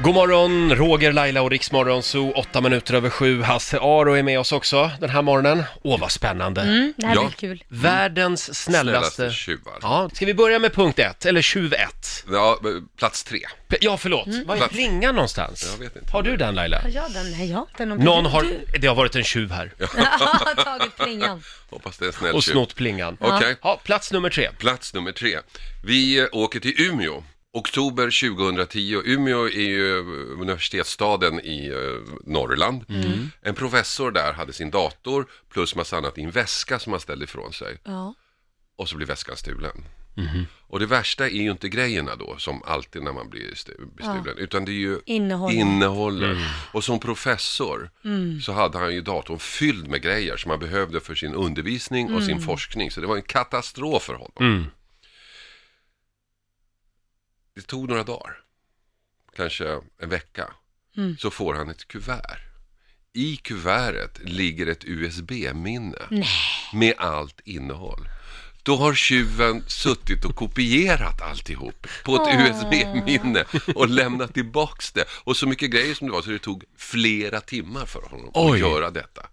God morgon, Roger, Laila och Riksmorgon, så åtta minuter över sju. Hasse Aro är med oss också den här morgonen. Åh, vad spännande. Mm, det här Ja. blir kul. Världens snällaste... Snällaste tjuvar. Ja. Ja, ska vi börja med punkt ett, eller tjuv ett? plats tre. P- Ja, förlåt. Var är Plats- ringan någonstans? Jag vet inte. Har du den Laila? Mm. Har jag den? Nej, jag har den. Om Någon du- har... Du Det har varit en tjuv här har tagit plingan. Hoppas det är en snäll och tjuv. snott plingan. Okej, Ja, plats nummer tre. plats nummer tre. Vi eh, åker till Umeå. Oktober 2010. Umeå är ju eh, universitetsstaden i eh, Norrland. Mm. En professor där hade sin dator plus massa annat i en väska som han ställde ifrån sig. Ja. och så blir väskan stulen. Mhm. Och det värsta är ju inte grejerna då, som alltid när man blir stu- bestulen, utan det är ju Innehållet. innehållet. Och som professor så hade han ju datorn fylld med grejer som han behövde för sin undervisning och sin forskning, så det var en katastrof för honom. Mm. Det tog några dagar, kanske en vecka, så får han ett kuvert. I kuvertet ligger ett USB-minne med allt innehåll. Då har tjuven suttit och kopierat alltihop på ett USB-minne och lämnat tillbaks det. Och så mycket grejer som det var så det tog flera timmar för honom Oj. att göra detta.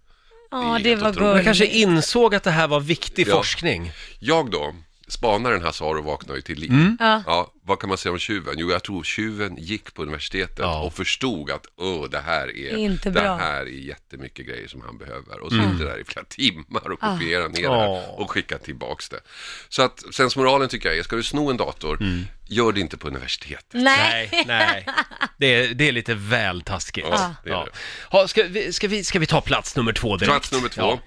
Ja, Det är det helt var otroligt. Jag guld. kanske insåg att det här var viktig Ja. forskning. Jag då, spanaren Hasse Aro vaknar ju till liv. Mm. Ja. Ja, vad kan man säga om tjuven? Jo, jag tror tjuven gick på universitetet Ja. och förstod att Åh, det här är, Inte det bra." här är jättemycket grejer som han behöver. Och så sitter där i flera timmar och Ah. kopierar ner det Mm. Ja. här och skickar tillbaks det. Så att sensmoralen tycker jag är, ska du sno en dator, Mm. gör det inte på universitetet. Nej. Nej, nej. Det är, det är lite väl taskigt. Ja, det är Ja. det. Ha, ska, vi, ska, vi, ska vi ta plats nummer två direkt? Plats nummer två. Ja. Mm.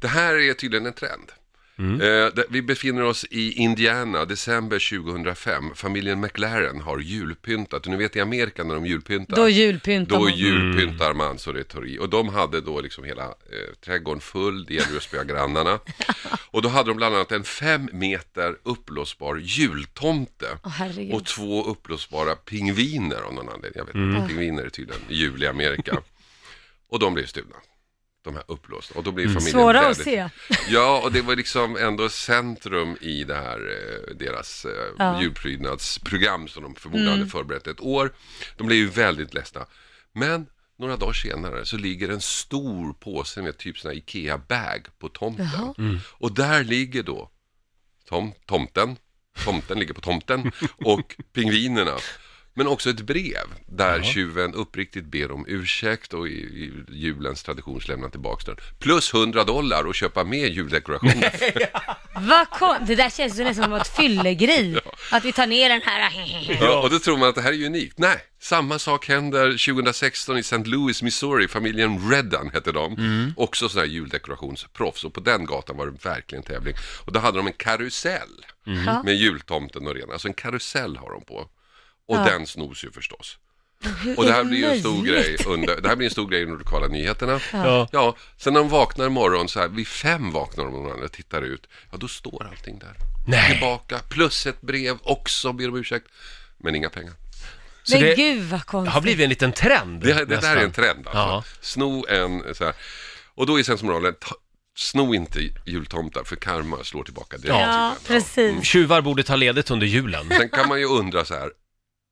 Det här är tydligen en trend. Eh, det- vi befinner oss i Indiana, december 2005. Familjen McLaren har julpyntat. Och ni vet i Amerika när de julpyntar. Då julpyntar Då man. Mm. julpyntar man så det är torri. Och de hade då liksom hela eh, trädgården full, det gäller ju att spöa grannarna. Och då hade de bland annat en fem meter uppblåsbar jultomte. Åh, herregud. och två uppblåsbara pingviner av någon anledning. Jag vet Mm. inte, pingviner är tydligen jul i Amerika. och de blev stulna. De här uppblåsta. Och då blir familjen Mm. Svåra att väldigt- se. Ja, och det var liksom ändå centrum i det här, eh, deras eh, julprydnadsprogram som de förmodligen Mm. hade förberett ett år. De blev ju väldigt ledsna. Men några dagar senare så ligger en stor påse med typ sån här Ikea-bag på tomten. Jaha. Mm. Och där ligger då tom, tomten, tomten ligger på tomten och pingvinerna. Men också ett brev där tjuven uppriktigt ber om ursäkt och i, i julens tradition lämnar tillbaka den. Plus 100 dollar och köpa med juldekorationer. Vad kon... Det där känns ju nästan som ett fyllegrej. Att vi tar ner den här. Ja, och då tror man att det här är unikt. Nej, samma sak händer 2016 i St. Louis, Missouri. Familjen Redden hette de. Också sådana här juldekorationsproffs. Och på den gatan var det verkligen tävling. Och då hade de en karusell Ja. med jultomten och rena. Alltså en karusell har de på. Och den snos ju förstås. Hur Och det här är blir ju en stor möjligt? grej under, det här blir en stor grej under de lokala nyheterna. Ja. Ja, sen när de vaknar imorgon så här, vid fem vaknar de om morgonen och tittar ut. Ja, då står allting där. Nej. Tillbaka, plus ett brev också, ber om ursäkt. Men inga pengar. Så Men det- gud vad Det har konstigt. blivit en liten trend. Det, här- det där nästan. är en trend alltså. Ja. Sno en så här. Och då är sensmoralen, ta- sno inte jultomtar för karma slår tillbaka direkt. Ja, till en. precis. Tjuvar borde ta ledigt under julen. Sen kan man ju undra så här,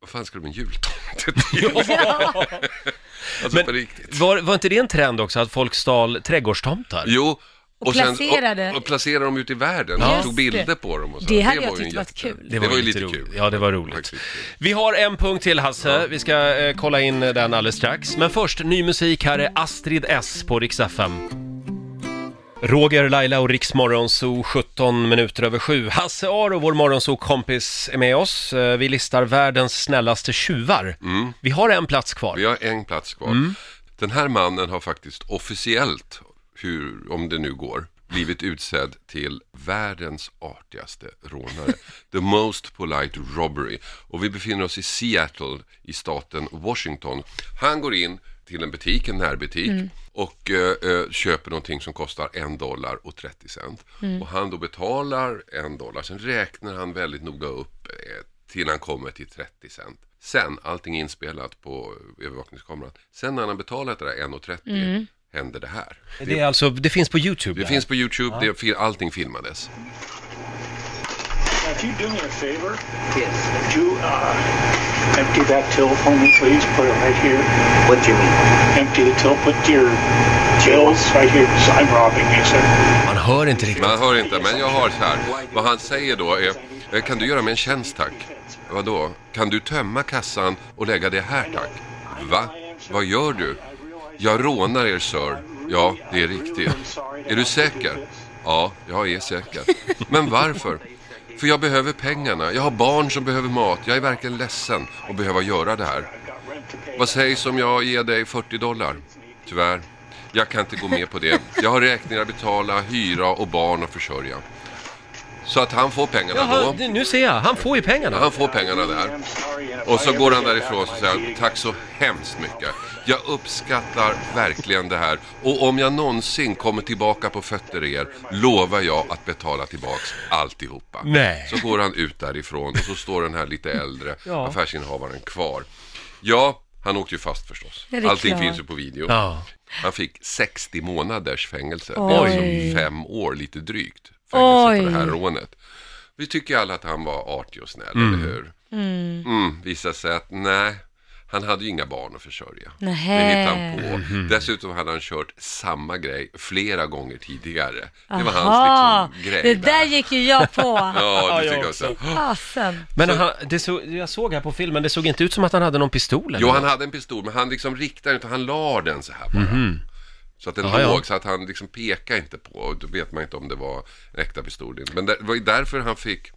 vad fan ska du med en jultomte till? alltså Men- på riktigt. Var, var inte det en trend också att folk stal trädgårdstomtar? Jo, Och placerade. och, och placerade dem ute i världen Ja. och tog bilder på dem och så. Det hade jag var ju tyckt en varit kul. Det var, ju lite kul. Ja, det var roligt. Faktiskt. Vi har en punkt till Hasse, vi ska eh, kolla in den alldeles strax. Men först, ny musik. Här är Astrid S på Rix FM. Roger, Laila och Rix Morgonzoo, 17 minuter över sju. Hasse Aro, vår Morgonzoo-kompis, är med oss. Eh, Vi listar världens snällaste tjuvar. Mm. Vi har en plats kvar. Vi har en plats kvar. Den här mannen har faktiskt officiellt, hur, om det nu går, blivit utsedd till världens artigaste rånare. The most polite robbery. Och vi befinner oss i Seattle i staten Washington. Han går in till en butik, en närbutik och eh, eh, köper någonting som kostar en dollar och 30 cent. Och han då betalar en dollar, sen räknar han väldigt noga upp eh, till han kommer till 30 cent. Sen, allting är inspelat på övervakningskameran. Sen när han har betalat det där 1,30 händer det här. Det, är alltså, det finns på YouTube. Det här. finns på YouTube, det, fi- allting filmades. Now, if you do me a favor, Yes. would you uh, empty that till for me, please? Put it right here. What do you mean? Empty the till. Put your bills right here. So I'm robbing you, sir. Man hör inte riktigt. Man hör inte, men jag har så här. Vad han säger då är, eh, kan du göra mig en tjänst tack? Vadå? Kan du tömma kassan och lägga det här tack? Va? Vad gör du? Jag rånar er sir. Ja, det är riktigt. Är du säker? Ja, jag är säker. Men varför? För jag behöver pengarna. Jag har barn som behöver mat. Jag är verkligen ledsen att behöva göra det här. Vad sägs om jag ger dig 40 dollar? Tyvärr, jag kan inte gå med på det. Jag har räkningar att betala, hyra och barn att försörja. Så att han får pengarna Jaha, då. det- nu ser jag. Han får ju pengarna. Han får pengarna där. Och så går han därifrån och säger tack så hemskt mycket. Jag uppskattar verkligen det här. Och om jag någonsin kommer tillbaka på fötter er lovar jag att betala tillbaks alltihopa. Nej. Så går han ut därifrån och så står den här lite äldre Ja. affärsinnehavaren kvar. Ja, han åkte ju fast förstås. Ja, det är Allting klart. finns ju på video. Ja. Han fick 60 månaders fängelse. Det är Oj. alltså fem år, lite drygt, fängelse för det här Oj. rånet. Vi tycker ju alla att han var artig och snäll, eller hur? Mm. visar sig att nej, han hade ju inga barn att försörja. Det Nähä. hittade han på. Mhm. Dessutom hade han kört samma grej flera gånger tidigare. Det var Aha, hans liksom, grej. det där gick ju jag på. Ja, Ja, det jag tycker jag också. också. Fasen. Men han, det så, jag såg här på filmen, det såg inte ut som att han hade någon pistol eller? Jo, han hade en pistol, men han liksom riktade inte, han la den så här bara. Så att den Mhm. Ja, ja. låg, så att han liksom pekade inte på, och då vet man inte om det var en äkta pistol. Men det var ju därför han fick,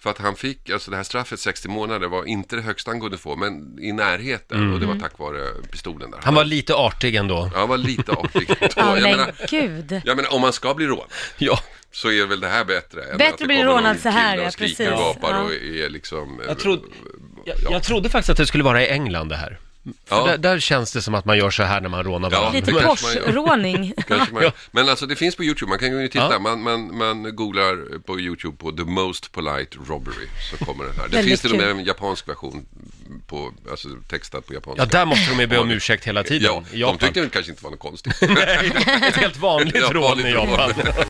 för att han fick, alltså det här straffet 60 månader var inte det högsta han kunde få, men i närheten. Och det var tack vare pistolen där. Mhm. Han var lite artig ändå. Ja, han var lite artig. då. Ja, jag, men menar, gud. jag menar, om man ska bli rånad Ja. så är väl det här bättre. Än Bättre att det bli kommer någon rånad så här, kille ja, och skriker precis. och gapar Ja. och är liksom... Jag, trodde, jag, jag trodde faktiskt att det skulle vara i England det här. För Ja. där, där känns det som att man gör så här när man rånar Ja, varandra. Lite det kanske man gör. korsråning. Kanske man, Men alltså det finns på YouTube, man kan ju titta. Ja. Man, man, man googlar på YouTube på The Most Polite Robbery så kommer det här. Det Väldigt finns till och med kul. en japansk version på, alltså textad på japanska. Ja, där måste de ju be om ursäkt hela tiden. Ja, I de Japan. tyckte det kanske inte var något konstigt. Ett helt vanligt Ja, rån vanligt i rån. Japan.